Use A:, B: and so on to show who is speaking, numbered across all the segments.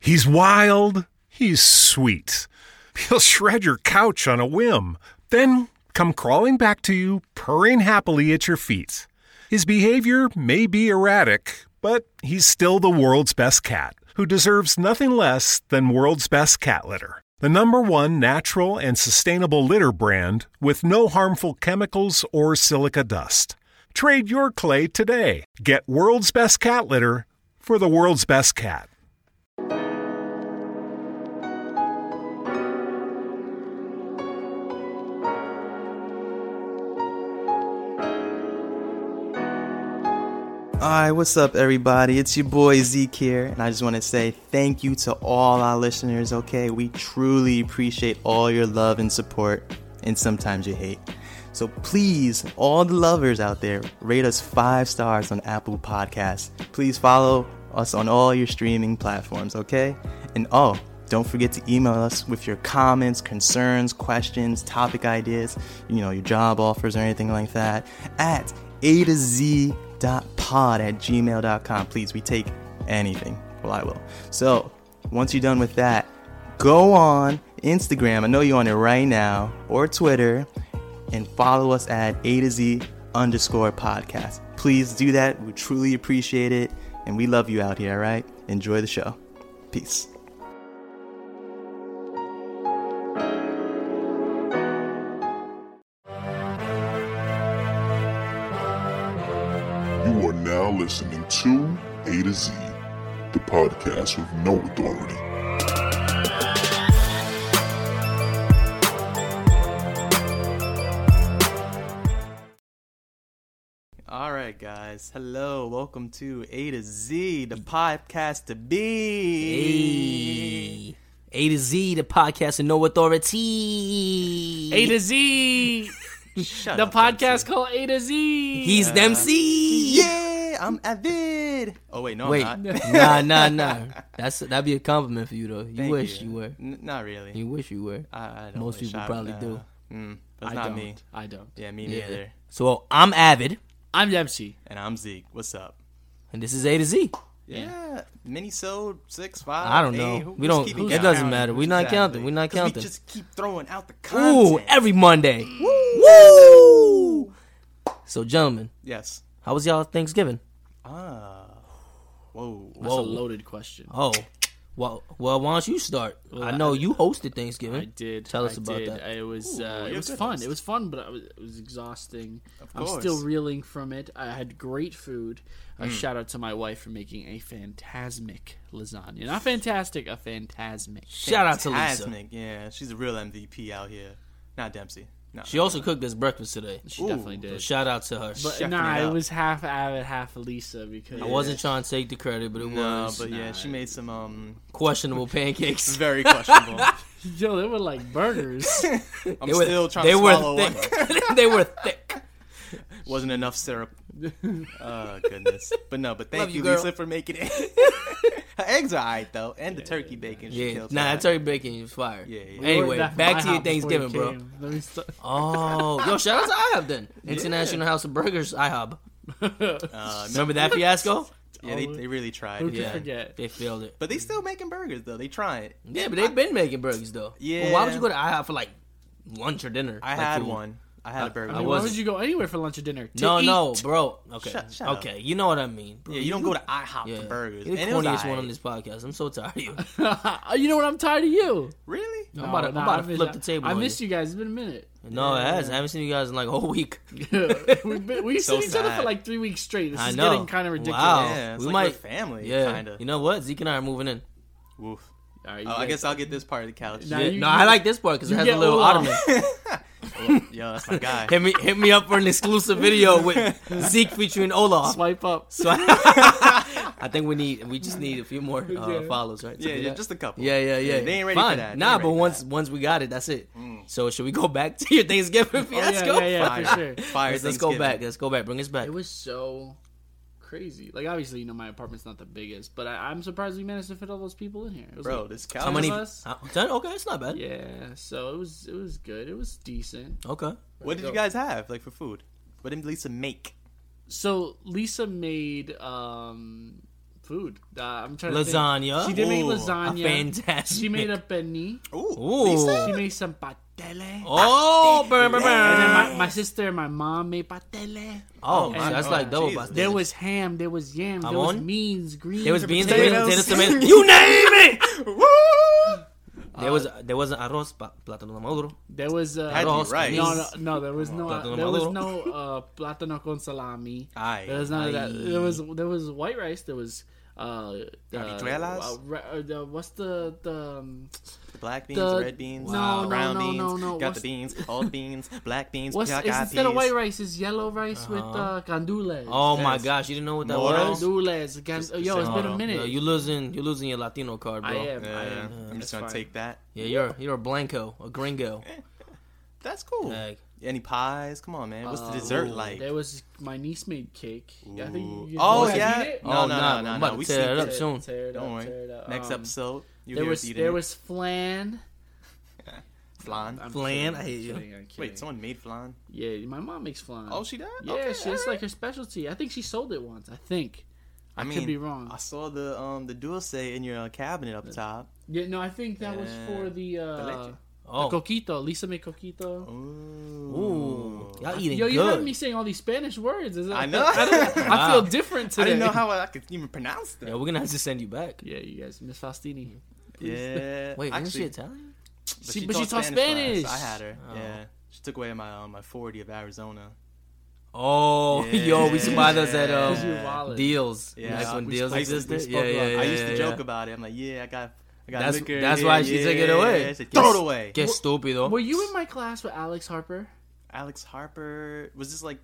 A: He's wild. He's sweet. He'll shred your couch on a whim, then come crawling back to you, purring happily at your feet. His behavior may be erratic, but he's still the world's best cat, who deserves nothing less than world's best cat litter. The number one natural and sustainable litter brand with no harmful chemicals or silica dust. Trade your clay today. Get world's best cat litter for the world's best cat.
B: All right, what's up, everybody? It's your boy Zeke here, and I just want to say thank you to all our listeners, okay? We truly appreciate all your love and support, and sometimes your hate. So please, all the lovers out there, rate us five stars on Apple Podcasts. Please follow us on all your streaming platforms, okay? And oh, don't forget to email us with your comments, concerns, questions, topic ideas, you know, your job offers or anything like that at A to Z pod at gmail.com. Please, we take anything. Well, I will. So, once you're done with that, go on Instagram. I know you're on it right now, or Twitter, and follow us at A to Z underscore podcast. Please do that. We truly appreciate it. And we love you out here, all right? Enjoy the show. Peace.
C: You are now listening to A to Z, the podcast with no authority.
B: All right, guys. Hello. Welcome to A to Z, the podcast to be.
D: Hey. A to Z, the podcast and no authority.
E: A to Z.
B: Shut
E: The
B: up,
E: podcast called A to Z.
D: He's them C.
B: Yeah, I'm Avid. Oh wait, no,
D: Wait,
B: I'm not.
D: nah, nah, nah. That's that'd be a compliment for you though. You
B: Thank
D: wish you. were.
B: N- not really.
D: You wish you were.
E: Uh,
B: I, I don't
D: Most
B: wish
D: people
B: I-
D: probably
B: no.
D: do.
B: Mm, that's
E: I
B: not
E: don't.
B: me.
E: I don't.
B: Yeah, me neither.
D: So I'm Avid,
E: I'm Dempsey.
B: And I'm Zeke. What's up?
D: and this is A to Z.
B: Yeah, mini sold six five.
D: I don't
B: eight,
D: know.
B: who- who's
D: We don't-
B: keeping
D: it
B: count?
D: doesn't matter. We not counting. We not
B: 'Cause
D: counting.
B: We just keep throwing out the
D: Ooh,
B: content.
D: every Monday.
B: Woo!
D: So gentlemen,
B: Yes.
D: how was y'all Thanksgiving?
B: Ah. Whoa.
E: That's a loaded question.
D: Oh, well, well, why don't you start? I know you hosted Thanksgiving.
E: I did.
D: Tell us
E: I
D: about
E: did.
D: that.
E: It was uh,
B: you're
E: it
B: a
E: was
B: good
E: fun.
B: host.
E: It was fun, but I was, it was exhausting. I'm
B: course.
E: still reeling from it. I had great food.
D: Mm.
E: A shout out to my wife for making a phantasmic lasagna. Not fantastic, a phantasmic.
D: Shout out to Lisa.
B: Fantastic. Yeah, she's a real MVP out here. Not Dempsey. No.
D: She also cooked us breakfast today.
E: She definitely
D: So
E: did.
D: shout out to her.
E: But
B: chefing
E: nah,
B: it
E: it
B: up.
E: was half Abbott, half Elisa because
D: I wasn't trying to take the credit, but it
B: No,
D: was
B: but yeah, she made some um
D: questionable pancakes.
B: very questionable.
E: Yo, they were like burgers.
B: I'm
D: They were,
B: still trying
D: they
B: to
D: were
B: swallow one.
D: thick. they were thick.
B: Wasn't enough syrup. oh goodness. But no, but thank
D: Love you,
B: you,
D: girl.
B: Lisa, for making it. Her eggs are alright though, and the turkey bacon. She
D: Yeah,
B: killed
D: nah,
B: tonight.
D: that turkey bacon is fire.
B: Yeah, yeah.
E: They
D: Anyway,
E: ordered that from
D: back to your
E: IHOP before you
D: Thanksgiving, bro.
E: came. Let me stop.
D: Oh, yo, shout out to IHOP then. International House of Burgers, IHOP.
B: Uh, no,
D: Remember that fiasco?
B: yeah, they, they really tried.
E: Who
B: it.
E: could forget?
D: They failed it.
B: But they still making burgers though. They trying. it.
D: Yeah, but they've been making burgers though.
B: Yeah.
D: Well, why would you go to IHOP for like lunch or dinner?
B: I
D: Like,
B: had
D: for-
B: one. I had a burger.
D: I
E: Why
D: wasn't.
E: would you go anywhere for lunch or dinner? To
D: No,
E: eat.
D: no, bro. Okay,
B: Shut- shut up.
D: okay, you know what I mean. Bro.
B: Yeah, you don't go to IHOP
D: Yeah.
B: for burgers.
D: You're the
B: And it was
D: corniest one
B: aight.
D: on this podcast. I'm so tired of you.
E: you know what? I'm tired of you.
B: Really?
D: I'm about to, I'm
E: No,
D: about
E: Oh, I
D: to
E: miss-
D: flip the table.
E: I
D: on
E: missed you guys. It's been a minute.
D: No, it has. I haven't seen you guys in like a whole week.
E: We've been, we
B: So
E: seen each other
B: sad.
E: for like three weeks straight. This
D: I
E: is
D: know.
E: getting kind of ridiculous.
D: Wow.
B: Yeah, it's
D: we
B: like
D: might-
B: we're family.
D: Yeah.
B: Kinda.
D: You know what? Zeke and I are moving in.
B: Woof.
E: All right, you
B: Oh, I
E: guys-
B: guess I'll get this part of the couch.
E: Now
D: Yeah,
E: you-
D: no,
E: you-
D: I like this part because it
E: you
D: has a
E: get
D: little
E: Oolong.
D: ottoman.
B: Yo, that's my guy.
D: hit me, hit me up for an exclusive video with Zeke featuring Olaf.
E: swipe up.
D: So I, I think we need, we just need a few more uh,
E: Yeah.
D: follows, right?
B: yeah,
D: Something
B: yeah,
D: like
B: just a couple.
D: Yeah, yeah, yeah.
B: They ain't ready for
D: Fine.
B: that. Mm. They
D: Nah,
B: ain't
D: but
B: ready for
D: once once we got it, that's it. So should we go back to your Thanksgiving
B: Oh,
E: yeah,
D: fiasco?
E: yeah, yeah, for
B: Fire.
E: sure.
B: Fire
D: Let's, let's go
B: Thanksgiving.
D: back. Let's go back. Bring us back.
E: It was so crazy. Like obviously, you know, my apartment's not the biggest, but I, I'm surprised we managed to fit all those people in here. It was
B: Bro,
E: like-
B: this couch.
D: How many?
E: of us?
D: how- ten? Okay, it's not bad.
E: yeah. So it was it was good. It was decent.
D: Okay.
B: What did you guys have like for food? What did Lisa make?
E: So Lisa made um food. Uh, I'm trying to think.
D: Lasagna.
E: She did make
D: Ooh, a
E: lasagna.
D: fantastic.
E: She made a beignet. She
D: Ooh.
E: made some patele.
D: Oh, burn, burn,
E: And then
D: burn.
E: my, my sister and my mom made patele.
D: Oh,
E: And-
D: that's like double
B: Jesus.
D: pastel.
E: There was ham, there was yam, there was
D: Jamon?
E: beans, greens.
D: There was beans, tomatoes,
E: potatoes.
D: potatoes, tomatoes. You name it. There was
E: Uh,
D: there was an arroz pa- plátano maduro.
E: There was uh,
B: Had
D: you
E: no,
D: right.
E: No, no, no, there was no,
D: Plátano
E: there was
D: maduro.
E: no uh, plátano con salami.
B: Ay,
E: there was none of that.
B: ay.
E: There was there was white rice. There was uh, uh,
B: Habichuelas?
E: uh, re- uh, the- what's the the um,
B: Black beans,
E: The-
B: red beans,
E: no, no,
B: brown
E: no,
B: beans,
E: no, no,
B: got
E: what's-
B: the beans, all the beans, black beans,
E: what's
B: black
E: it's
B: eyed
E: instead of
B: peas.
E: white rice is yellow rice with uh, gandules.
D: Oh my
B: Yes.
D: gosh, you didn't know what that
B: Moro?
D: was?
E: gandules. Gan- yo, it's
D: No,
E: been
D: no.
E: a
D: Yo,
E: minute.
D: you losing you losing your Latino card, bro.
E: I am.
B: Yeah,
E: I am.
B: I'm just
E: That's
B: gonna
E: fine.
B: take that.
D: Yeah, you're you're a blanco, a gringo.
B: That's cool.
D: Like,
B: Any pies? Come on, man. What's the dessert like?
E: There was my niece made cake. I think you, you
B: Oh,
E: you guys
B: yeah?
E: eat it?
B: No,
D: oh,
B: no, no,
D: nah,
B: no,
D: I'm
B: no,
D: about to
B: we
D: tear it
B: sneak
D: up
E: Tear it-
D: soon.
E: tear it
B: Don't
E: up,
B: worry.
E: tear it up.
B: Next
E: Um,
B: episode, you
E: There
B: hear
E: was
B: us eating
E: there
B: it.
E: was flan.
B: flan.
E: I'm
D: Flan?
E: kidding,
D: I
E: I'm
D: hate you.
E: kidding, I'm kidding.
B: Wait, someone made flan?
E: Yeah, my mom makes flan.
B: Oh, she did.
E: Yeah,
B: okay,
E: she,
B: all
E: it's
B: right.
E: like her specialty. I think she sold it once. I think.
B: I
E: could
B: mean,
E: be wrong.
B: I saw the um the dulce in your uh, cabinet up top.
E: Yeah, no, I think that was for the uh,
B: Eh, leche. Oh.
D: Oh,
E: the coquito. Lisa made coquito.
D: ooh, y'all eating
E: Yo, you
D: good.
E: heard me saying all these Spanish words. Is that-
B: I know.
E: I, don't- I feel
D: Wow.
E: different
B: I
E: today.
B: didn't know how I could even pronounce
D: Yeah,
B: that.
D: we're gonna have to send you back.
E: Yeah, you guys, Miss Faustini.
B: Yeah.
D: Wait, isn't
B: actually,
D: she Italian?
E: She- but she taught Spanish.
B: class. I had her.
D: Oh.
B: Yeah. She took away my uh, my 40 of Arizona.
D: Oh, yo, we spotted us at
B: Yeah.
E: Where's your
D: um,
E: wallet?
D: deals.
B: Yeah,
D: Yeah, like when
B: we
D: deals
B: spoke- we
D: existed.
B: spoke
D: Yeah,
B: about-
D: yeah, yeah.
B: I used to
D: yeah,
B: joke
D: yeah.
B: about it. I'm like, yeah, I got, I got
D: That's
B: liquor.
D: that's
B: yeah,
D: why she
B: yeah,
D: took it
B: yeah.
D: away.
B: I said, Throw it
D: Yes.
B: away.
D: Que estúpido.
E: Were you in my class with Alex Harper?
B: Alex Harper was this like,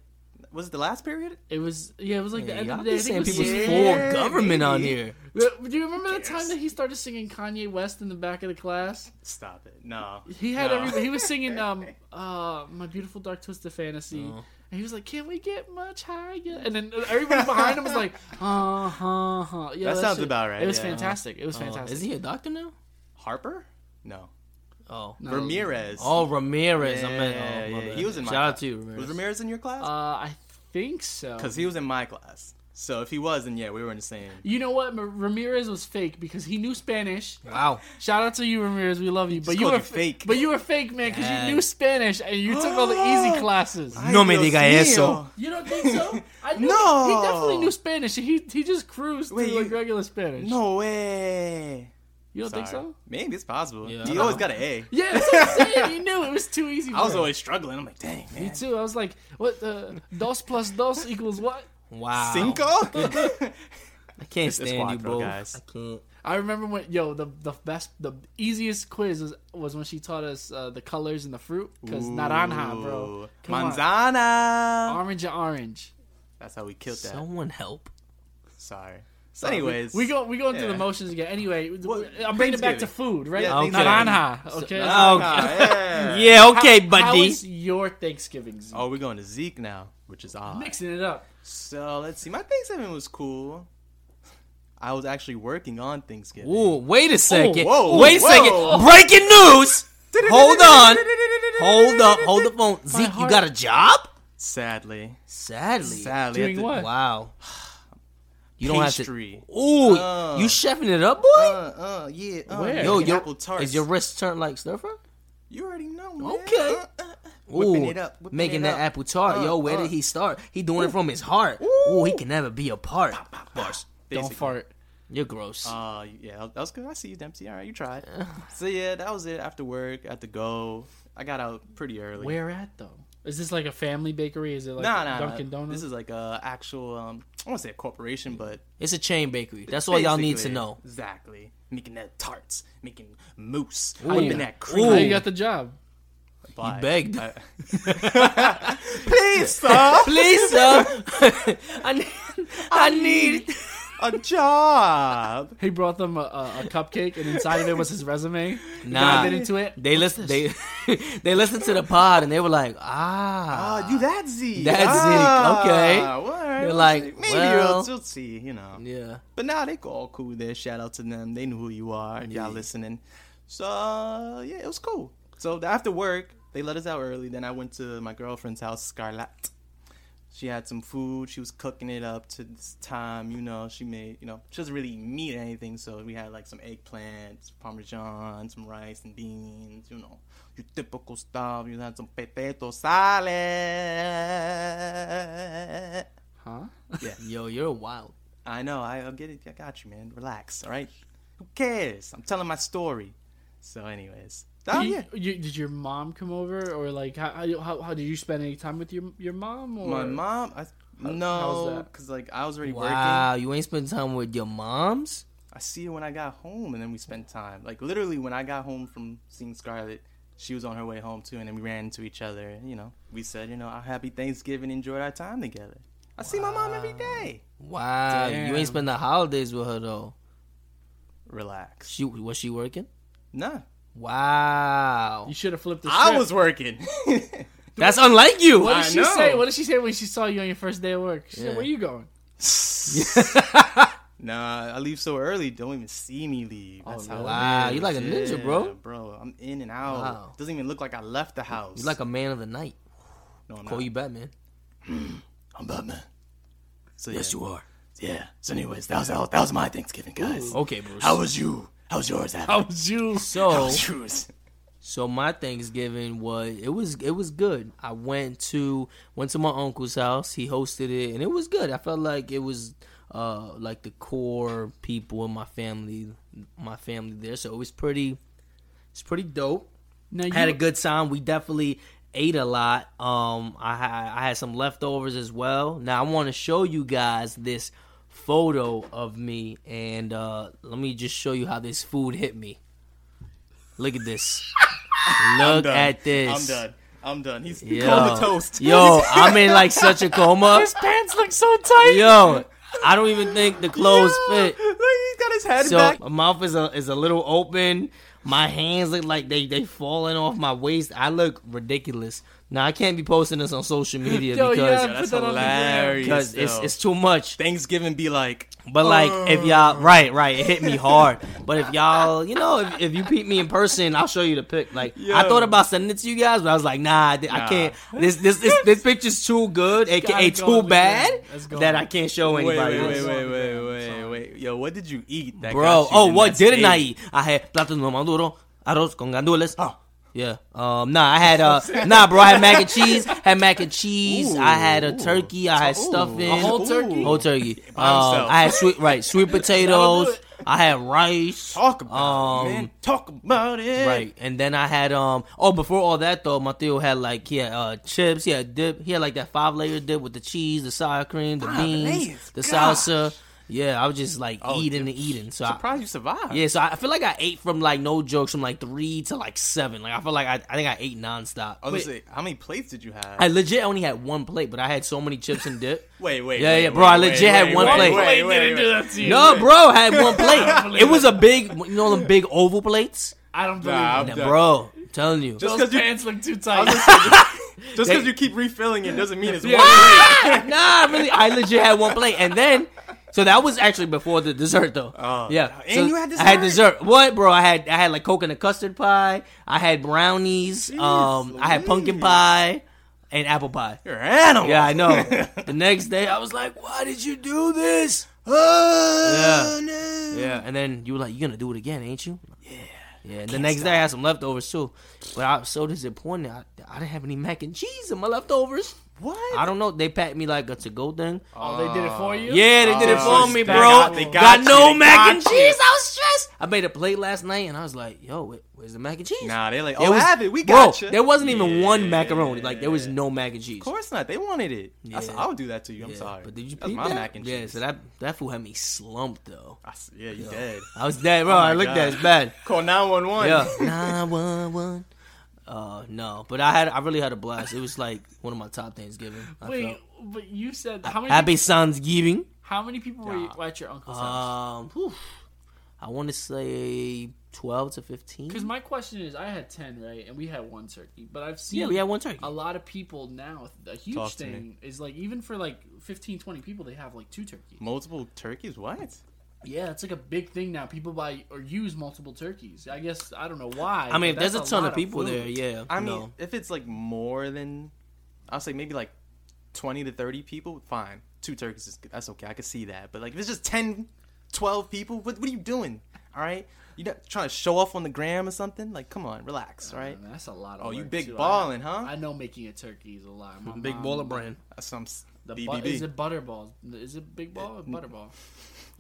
B: was it the last period?
E: It was yeah, it was like the
D: Yeah,
E: end
D: y'all
E: of the day.
D: be
E: I think it
D: saying
E: was
D: people's
E: six-
D: full government on here.
E: Yeah, Do you remember the time that he started singing Kanye West in the back of the class?
B: Stop it. No.
E: He had
B: no.
E: everybody. He was singing um uh my beautiful dark twisted fantasy. And he was like, "Can we get much higher?" And then everybody behind him was like, "Huh, huh, huh." Yeah,
B: That sounds
E: shit-
B: about right,
E: It was
B: yeah.
E: fantastic. It was
D: Oh,
E: fantastic.
D: is he a doctor now?
B: Harper? No.
D: Oh,
E: No.
B: Ramirez.
D: oh, Ramirez. I meant,
B: Yeah,
D: oh, my
B: yeah,
D: bad.
B: he was in my
D: Shout out
B: class.
D: to you,
B: Was
D: Ramirez.
B: Ramirez in your
E: Uh,
B: class?
E: I think so.
B: Because he was in my class. So if he was, then yeah, we were in the same.
E: you know what? Ma- Ramirez was fake because he knew Spanish.
D: Wow.
E: Shout out to you, Ramirez. We love you, but you
B: called
E: were
B: you fake.
E: But you were fake, man, because
D: Yeah.
E: you knew Spanish and you took all the easy classes.
D: No me diga eso.
E: You don't think so? I knew-
B: No.
E: he definitely knew Spanish. He he just cruised
B: Wait,
E: through like
B: you-
E: regular Spanish.
B: No way.
E: you don't think
B: Sorry.
E: so?
B: Maybe it's possible.
D: Yeah.
B: You always got an A.
E: Yeah, that's what I'm saying. He knew it was too easy. For
B: I was
E: him.
B: always struggling. I'm like, dang,
E: me
B: man.
E: too. I was like, what? Uh, dos plus dos equals what?
D: Wow.
B: Cinco?
D: I can't
B: It's- it's
D: stand you,
B: quattro,
D: bro.
B: guys.
D: I can't.
E: I remember when yo the the best the easiest quiz was, was when she taught us uh, the colors and the fruit because naranja, bro.
B: Ooh.
E: Come on.
B: Manzana.
E: Orange and orange.
B: That's how we killed that.
D: Someone help.
B: Sorry. So, anyways,
E: we go we going through
B: yeah.
E: the motions again. Anyway, I'm bringing it back to
B: Thanksgiving.
E: food, right?
B: Yeah,
D: Okay.
E: Naranja. Okay.
D: Oh,
B: Ah, yeah.
D: yeah, okay,
E: How-
D: buddy.
E: How is your Thanksgiving? Zeke?
B: Oh, we're going to Zeke now, which is odd.
E: Mixing it up.
B: So let's see. My Thanksgiving was cool. I was actually working on Thanksgiving.
D: Ooh, wait a second.
B: Oh, whoa,
D: wait a
B: whoa.
D: second. Breaking news. Hold on. Hold up. Hold the phone. Zeke, you
E: heart-
D: got a job?
B: Sadly,
D: Sadly.
B: sadly,
E: Doing
B: at the-
E: what?
D: Wow. You don't
B: Pastry.
D: have to. Ooh,
B: Uh.
D: you chefing it up, boy?
B: Uh, uh, yeah. Uh,
E: Where?
D: Yo,
B: Yo,
D: your,
B: apple tarts.
D: is your wrist turned like stir fry?
B: You already know, man.
D: Okay.
B: Uh, uh,
D: Ooh,
B: Whipping it up, whipping
D: making
B: it
D: that
B: up.
D: apple tart. Yo, where
B: uh.
D: did he start? He doing it from his heart. Ooh, he can never be apart. Bars.
E: Don't
B: basically.
E: fart.
D: You're gross.
B: Uh, yeah, that- that was good. I see you, Dempsey. All right, you tried. so yeah, that was it. After work, I had to go. I got out pretty early.
E: Where at though? Is this like a family bakery? Is it like
B: Nah, nah,
E: Dunkin'
B: nah.
E: Donuts?
B: This is like a actual. Um, I won't say a corporation, but
D: it's a chain bakery. That's all y'all need to
B: basically-
D: know.
B: Exactly. Making that tarts, making mousse,
D: Ooh.
B: whipping that cream.
E: How
D: Ooh.
E: you got the job?
B: Bye.
D: begged.
B: I- Please, sir,
D: Please, sir. I need. I need.
B: a job.
E: He brought them a, a, a cupcake, and inside of it was his resume.
D: Nah.
E: Dived into it.
D: They listen. They they listened to the pod and they were like, ah,
B: Uh, you that Zeke.
D: That Zeke,
B: Ah,
D: okay.
B: all right,
D: They're
B: we'll
D: like,
B: see. maybe
D: well-
B: we'll, we'll see, you know.
D: yeah.
B: But now nah, they all cool there. Shout out to them. They knew who you are. Y'all listening. So uh, yeah, it was cool. So after work, they let us out early. Then I went to my girlfriend's house, Scarlett. She had some food. She was cooking it up to this time. You know, she made, you know, she doesn't really eat meat or anything. So we had like some eggplant, some parmesan, some rice and beans, you know, your typical stuff. You had some potato salad.
E: Huh?
D: Yo, you're wild.
B: I know. I, I get it. I got you, man. Relax. All right. Who cares? I'm telling my story. So, anyways. Oh,
E: You-
B: yeah.
E: you- did your mom come over, or like how how, how, how did you spend any time with your your mom? Or
B: My mom. I, no,
E: that?
B: because like I was already working.
D: Wow, you ain't spending time with your moms?
B: I see her when I got home, and then we spent time. Like literally, when I got home from seeing Scarlett, she was on her way home too, and then we ran into each other. And, you know, we said, you know, our happy Thanksgiving, enjoyed our time together. I see my mom every day.
D: Wow, you
B: Damn.
D: ain't spend the holidays with her though.
B: Relax.
D: She was she working?
B: Nah,
D: Wow,
E: you should have flipped the script.
B: I was working.
D: that's unlike you.
E: What
B: I
E: did she
B: know.
E: say? What did she say when she saw you on your first day of work? She
D: Yeah.
E: said, "Where you going?"
B: nah, I leave so early. Don't even see me leave. That's how. it
D: wow,
B: is.
D: Oh, you like a ninja,
B: Yeah,
D: bro.
B: Bro, I'm in and out.
D: Wow.
B: Doesn't even look like I left the house.
D: You like a man of the night.
B: no, I'm,
D: Call
B: not.
D: you Batman.
B: I'm Batman. So yeah.
D: are.
B: Yeah. So, anyways, that was that was my Thanksgiving, guys.
D: Okay, Bruce.
B: How was you? How was yours? Adam?
E: Oh, juice.
D: so
B: yours?
D: So my Thanksgiving was it was it was good. I went to went to my uncle's house. He hosted it, and it was good. I felt like it was uh like the core people in my family, my family there. So it was pretty, it's pretty dope.
E: Now you
D: I had a good time. We definitely ate a lot. Um, I had I had some leftovers as well. Now I want to show you guys this photo of me, and uh, let me just show you how this food hit me. Look at this. Look at this.
B: I'm done. I'm done. He's
D: Yo,
B: comatose.
D: yo, I'm in like such a coma.
E: His pants look so tight.
D: Yo, I don't even think the clothes fit.
B: Look, he's got his head
D: So
B: back.
D: my mouth is a is a little open. My hands look like they they falling off my waist. I look ridiculous. Now I can't be posting this on social media
E: Yo, you
D: because
E: gotta put that on the gram.
D: because it's it's too much.
B: Thanksgiving be like,
D: But like
E: Oh.
D: if y'all right right it hit me hard. But if y'all you know if, if you peep me in person, I'll show you the pic. Like I
B: Yo.
D: thought about sending it to you guys, but I was like nah, I, I can't. This this this, this picture's too good, aka
E: gotta go on
D: too
E: the
D: bad
E: gram. Let's go
D: that
E: on.
D: I can't show
B: wait, wait,
D: anybody. else.
B: wait, wait, wait, wait, wait. Yo, what did you eat? That
D: Bro,
B: got you
D: oh,
B: in
D: what
B: that
D: didn't I
B: state?
D: eat? I had plátano maduro, arroz con gandules. Oh. Yeah. Um. Nah. I had uh. nah, bro. I had mac and cheese. Had mac and cheese. I had a turkey. I had stuffing.
E: A whole turkey?
D: Whole turkey. Um,
B: By himself.
D: I had sweet right sweet potatoes.
E: it.
D: I had rice.
B: Talk about
D: Um,
B: it, man. Talk about it.
D: Right. And then I had um. Oh, before all that though, Mateo had like he had uh chips. He had dip. He had like that five layer dip with the cheese, the sour cream, the beans,
B: layers.
D: the
B: Gosh. Oh,
D: salsa. Yeah, I was just like eating and eating. So I,
B: Surprised you survived.
D: yeah, so I I feel like I ate from like no jokes from like three to like seven. Like I feel like I, I think I ate nonstop.
B: I was
D: Wait,
B: gonna say, Oh, how many plates did you have?
D: I legit only had one plate, but I had so many chips and dip.
B: wait, wait.
D: Yeah,
B: wait,
D: yeah, bro, I
B: wait,
D: legit had
B: wait,
D: one
B: wait,
D: plate.
B: Wait,
E: Wait,
B: wait,
E: didn't
B: wait.
E: do that to you.
D: No, bro, I had one plate. it was a big, you know, them big oval plates.
E: I don't believe
B: Nah,
E: nah,
B: I'm
D: Now,
B: done.
D: bro, I'm telling you.
B: Just
E: those
B: 'cause you-
E: pants look too tight.
B: Just
D: They-
B: because you keep refilling it doesn't mean it's
E: Yeah.
B: one plate.
D: nah, really, I legit had one plate, and then so that was actually before the dessert though.
B: Oh.
D: yeah,
B: And
D: So
B: you had
D: I had
B: dessert?
D: dessert. What, bro? I had I had like coconut custard pie. I had brownies. um, I had pumpkin
B: Louise.
D: pie and apple pie.
B: You're an animal.
D: Yeah, I know. the next day, I was like, "Why did you do this?"
B: Oh,
D: Yeah.
B: no.
D: Yeah, and then you were like, "You're gonna do it again, ain't you?" Yeah. Yeah. And the next day, I had some leftovers too, but I was so disappointed. I, I didn't have any mac and cheese in my leftovers.
B: What?
D: I don't know. They packed me like a to-go thing.
E: oh, they did it for you.
D: Um, Yeah, they did it
B: Oh,
D: for me,
B: they
D: bro.
B: got- they
D: got,
B: got you,
D: no
B: they
D: mac
B: got
D: and
B: you.
D: cheese. I was stressed. I made a plate last night, and I was like, "Yo, where- where's the mac and cheese?"
B: Nah, they like,
D: There
B: oh,
D: was-
B: have it. We
D: bro,
B: got you.
D: There wasn't even one macaroni. Like there was no mac and cheese.
B: Of course not. They wanted it. I said,
D: Yeah.
B: I would do that to you. I'm
D: Yeah,
B: sorry.
D: But did you
B: That's
D: peep
B: my
D: that?
B: mac and
D: Yeah,
B: cheese.
D: so that that food had me slumped though.
B: I said, yeah, you dead.
D: I was dead, bro.
B: Oh my
D: I looked
B: God.
D: at it, it's bad.
B: Call 911.
D: Yeah, nine one one. Uh, no, but I had I really had a blast. It was like one of my top Thanksgiving. I
E: Wait,
D: felt.
E: but you said how many?
D: happy Thanksgiving.
E: How many people were you at your uncle's house?
D: Um, whew. I want to say twelve to fifteen.
E: Because my question is, I had ten, right, and we had one turkey. But I've seen
D: yeah, we had one turkey.
E: a lot of people now. A huge
B: Talk to me.
E: thing is like even for like 15, 20 people, they have like two turkeys.
B: Multiple turkeys? What?
E: Yeah, it's like a big thing now. People buy or use multiple turkeys. I guess I don't know why.
D: I mean,
E: but
D: there's a
E: that's
D: ton
E: lot
D: of people
E: food.
D: there. Yeah,
B: I mean,
D: no.
B: if it's like more than, I'll say maybe like 20 to 30 people, fine. Two turkeys, is, that's okay. I can see that. But like, if it's just 10, 12 people, what, what are you doing? All right? You're not trying to show off on the gram or something? Like, come on, relax, all right?
E: Man, that's a lot of
B: Oh, you
E: work,
B: big
E: too. I-
B: ballin', huh?
E: I know making a turkey is a lot. My
D: Big
E: mom-
D: baller brand.
B: That's some
E: The
B: BBB.
E: bu- is it butterball? Is it big ball
B: Uh,
E: or butterball?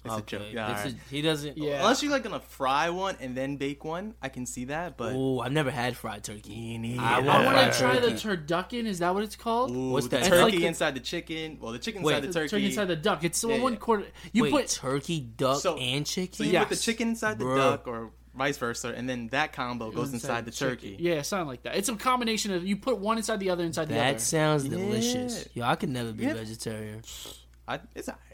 B: It's a joke. Yeah,
D: This
B: all right.
D: is- he doesn't.
E: Yeah.
B: Unless you're like gonna fry one and then bake one, I can see that. But
D: Oh, I've never had fried turkey. I
B: I
D: want
E: Oh, I
D: fried
E: want to try the
D: turkey.
E: turducken. Is that what it's called?
B: Ooh,
D: What's
B: the
D: that?
B: turkey
E: It's like the-
B: inside the chicken. Well, the chicken
D: Wait.
B: inside the
E: turkey.
B: turkey.
E: inside the duck. It's the
B: Yeah,
E: one
B: yeah.
E: quarter. You
D: Wait,
E: put
D: turkey, duck,
B: So-
D: and chicken.
B: so you put the
E: Yes.
B: chicken inside the
D: Bruh.
B: duck, or vice versa, and then that combo goes inside, the turkey.
E: Yeah, something like that. It's a combination of you put one inside the other inside the
D: That
E: other.
D: sounds delicious. Yo, I could never be
B: Yeah.
D: vegetarian.
B: I, it's alright.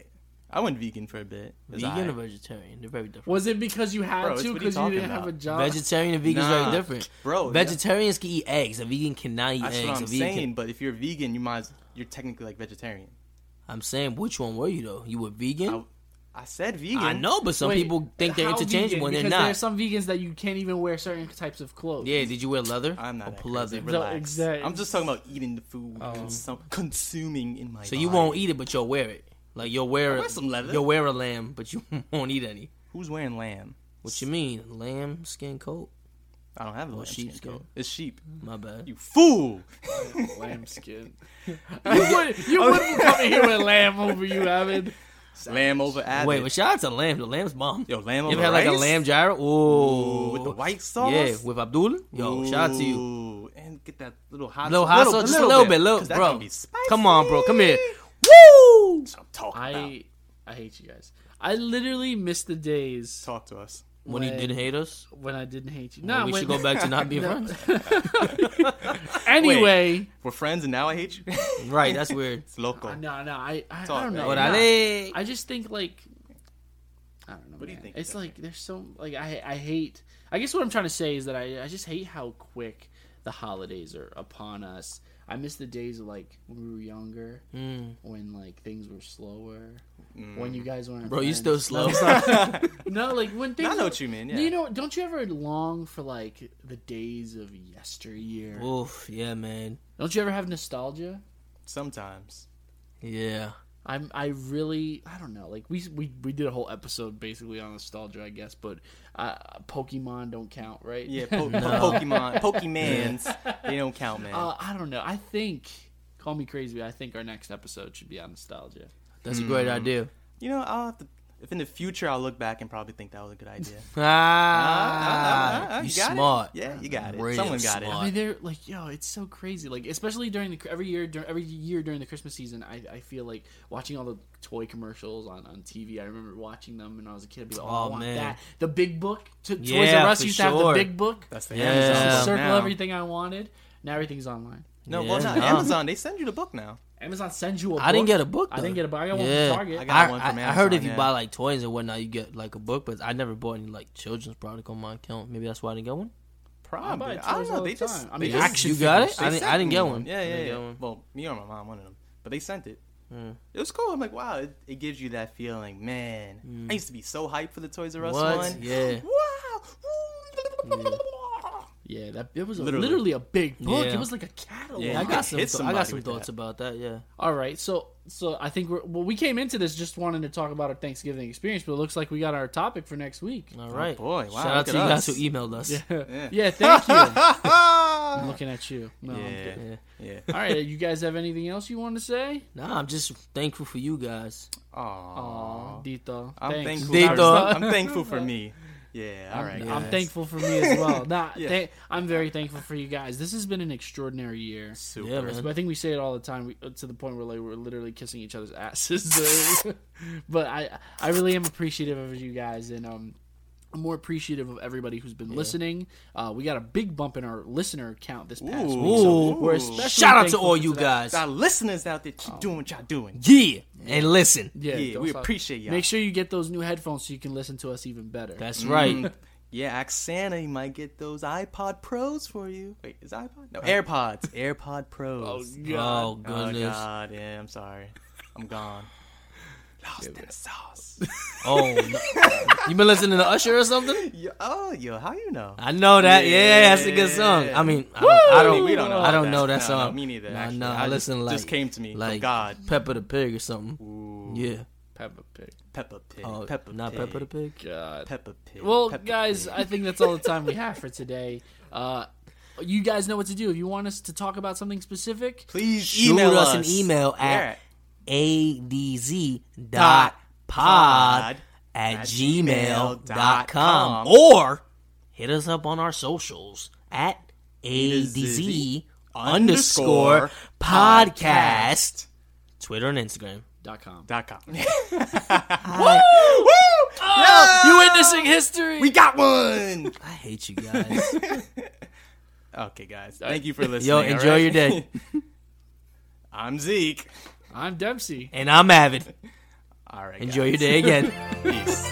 B: I went vegan for a bit. It's
D: Vegan or
B: alright.
D: vegetarian, they're very different.
E: was it because you had
B: Bro, it's
E: to
B: what
E: because
B: are you
E: you didn't
B: talking
E: have a
B: about?
E: job?
D: Vegetarian and vegan is
B: Nah.
D: very different,
B: Bro, yeah.
D: Vegetarians can eat eggs. A vegan cannot eat
B: That's
D: eggs.
B: what
D: a
B: I'm
D: vegan
B: saying. But if you're vegan, you might as, you're technically like vegetarian.
D: I'm saying, which one were you though? You were vegan.
B: I, I said vegan.
D: I, know, but some
E: Wait,
D: people think they're
E: how
D: interchangeable
E: vegan?
D: when they're
E: Because There are
D: not.
E: some vegans that you can't even wear certain types of clothes.
D: Yeah, did you wear leather?
B: I'm not.
D: Or
B: that
D: leather.
B: crazy. Relax.
E: exact-
B: I'm just talking about eating the food, consum- consuming in my.
D: So you won't eat it, but you'll wear it. Like you'll wear,
B: wear some leather.
D: You'll wear a lamb, but you won't eat any.
B: Who's wearing lamb?
D: What you mean, lamb skin coat?
B: I don't have a lamb
D: sheep's
B: skin coat.
D: skin.
B: It's sheep.
D: My bad.
B: You fool!
E: lambskin. you would you would be coming here with lamb over you, Evan.
B: lamb over Abbott.
D: Wait, but shout out to lamb. The lamb's bomb.
B: Yo, lamb
D: you
B: over
D: ever had like a
B: rice?
D: lamb gyro? Ooh,
B: Ooh, with the white sauce.
D: Yeah, with Abdul.
B: Oh,
D: Yo, shout out to you.
B: Ooh, And get that little hot,
D: Little hot sauce, just a little bit, little
B: 'cause that
D: bro.
B: gonna be spicy.
D: Come on, bro, come here.
B: Woo! That's what I'm talking about.
E: I I hate you guys. I literally missed the days
B: Talk to us.
D: When he
E: Wait.
D: didn't hate us,
E: when I didn't hate you.
D: well,
E: No,
D: we
E: when,
D: should go back to not being friends.
E: anyway.
B: We're friends, and now I hate you. it's
D: Right, that's weird.
B: loco.
E: No, no, I I, I
B: all
E: don't know.
B: right.
E: Nah.
D: Orale.
E: I just think like I don't know. What
B: do you think
E: It's
B: about
E: like there's so like I I hate. I guess what I'm trying to say is that I I just hate how quick the holidays are upon us. I miss the days of like when we were younger,
D: Hmm.
E: when like things were slower,
B: Hmm.
E: when you guys weren't.
D: Bro, you
E: friends.
D: still slow.
E: No, like when things.
B: I know
E: were-
B: what you mean, yeah.
E: You know, don't you ever long for like the days of yesteryear?
D: Oof, yeah, man.
E: Don't you ever have nostalgia?
B: Sometimes.
D: Yeah.
E: I'm I really I don't know like we we, we did a whole episode basically on nostalgia I guess but uh, Pokemon don't count right
B: Yeah, po- Pokemon, Pokemans, they don't count, man.
E: uh, I don't know I think call me crazy but I think our next episode should be on nostalgia
D: That's a great
B: Hmm.
D: idea.
B: you know, I'll have to. If in the future I'll look back and probably think that was a good idea.
D: Ah,
B: Ah,
D: you
B: got it?
D: smart.
B: Yeah, you got it.
D: Real
B: Someone got
D: smart.
E: I mean they're like yo it's so crazy like especially during the every year during every year during the Christmas season I, I feel like watching all the toy commercials on, on TV I remember watching them when I was a kid I'd be like oh, I
D: Oh,
E: want
D: man.
E: that the big book to, Toys
D: Yeah,
E: R Us
D: for
E: used to have the
D: sure.
E: big book
B: That's the
D: Yeah.
B: Amazon.
E: Just
D: Um,
E: circle
B: now.
E: everything I wanted. Now everything's online.
B: No,
D: Yeah,
B: well, not
D: no.
B: Amazon. They send you the book now.
E: Amazon sends you a book.
D: I didn't get a book.
E: I
D: though.
E: didn't get a book. I got one from Target.
D: I,
E: I
B: got
D: I,
B: one from
D: I heard if
B: Amazon,
D: you
B: yeah.
D: buy like toys and whatnot, you get like a book. But I never bought any like children's product on my account. Maybe that's why I didn't get one.
E: buy
B: Probably.
E: toys
B: I don't
E: all
B: know.
E: the
B: They just.
E: time. I
B: they
E: mean,
B: just-
E: action
D: You got
E: figures.
D: it?
B: they
D: I didn't. I
B: sent
D: didn't
B: me
D: get one.
B: Yeah, yeah,
D: I didn't
B: yeah.
D: get one. Hmm.
B: Well, me or my mom, one of them. But they sent it. It was cool. I'm like, wow, it, it gives you that feeling, man. I used to be so hyped for the Toys R Us
D: Hmm. What?
B: one.
D: Yeah.
B: Wow.
E: Yeah, that it was a, literally.
B: Literally.
E: a big book.
D: Yeah.
E: It was like a catalog.
B: Yeah,
D: I
B: you
D: got
B: could
D: some.
B: hit
D: Th- I
B: somebody
D: got some
B: with
D: thoughts
B: that.
D: about that. Yeah.
E: All right, so so I think we're well. We came into this just wanting to talk about our Thanksgiving experience, but it looks like we got our topic for next week.
D: All right.
B: boy, wow,
D: Shout out
B: look
D: to
B: at
D: you guys
B: us.
D: who emailed us.
E: yeah. thank you. I'm looking at you. No, I'm
B: Yeah.
E: kidding.
B: Yeah.
E: All right, you guys have anything else you want to say?
D: Nah, I'm just thankful for you guys.
B: Aww.
E: Aw, Dito.
B: I'm
E: Thanks.
B: thankful.
D: They
B: For,
D: thought-
B: I'm thankful for me. Yeah. All right.
E: I'm,
B: guys.
E: I'm thankful for me as well. Nah,
B: Yeah.
E: thank- I'm very thankful for you guys. This has been an extraordinary year.
B: Super.
D: Yeah,
E: But
D: man.
E: I think we say it all the time we, to the point where like we're literally kissing each other's asses. but I I really am appreciative of you guys and um I'm more appreciative of everybody who's been listening. Uh, we got a big bump in our listener count this
B: Ooh.
E: past week. So
B: Ooh.
E: we're especially
D: Shout out to
E: thankful
D: all
E: for
D: you
E: that.
D: guys.
B: Our listeners out there,
D: Oh.
B: keep doing what y'all doing.
D: Yeah, and listen.
E: Yeah,
B: Yeah,
E: don't
B: we
E: stop.
B: appreciate y'all.
E: Make sure you get those new headphones so you can listen to us even better.
D: That's right.
B: Yeah, Axana, you might get those iPod Pros for you. Wait, is iPod? No, AirPods. AirPod Pros.
E: God.
D: Oh
B: Oh,
D: goodness.
B: God. Yeah, I'm sorry. I'm gone. Lost in sauce.
D: Oh, no. you been listening to Usher or something?
B: yo, oh, yo, how you know?
D: I know that. Yeah, that's a good song. I mean, I don't, I
B: I
D: don't,
B: mean, we don't know
D: I don't
B: that.
D: know that
B: No,
D: song.
B: no, me neither,
D: Nah,
B: actually.
D: nah,
B: I
D: I
B: just-
D: listen like
B: just came to me from
D: like
B: God.
D: Pepper the Pig or something. Yeah,
E: Peppa Pig.
B: Peppa Pig.
D: oh,
B: Peppa
D: not
B: Pig.
D: Pepper the Pig.
E: God.
B: Peppa Pig.
E: Well,
B: Peppa
E: guys,
B: Pig.
E: I think that's all the time we have for today. Uh, you guys know what to do. If you want us to talk about something specific,
B: please
D: Shoot
B: email
D: us an email
B: Yeah.
D: at adz
B: Dot
D: dot
B: pod
D: pod
B: at
D: at gmail
B: gmail dot
D: dot
B: com.
D: com or hit us up on our socials at
B: to Z
D: adz underscore podcast Twitter and Instagram.
E: dot com.
B: dot com.
E: You witnessing history.
B: we got one.
D: I hate you guys.
B: Okay, guys. Thank you for listening.
D: Yo,
B: all
D: enjoy
B: right?
D: your day.
B: I'm Zeke.
E: I'm Dempsey.
D: And I'm Avid.
B: All right.
D: Enjoy your day again.
B: guys. Peace.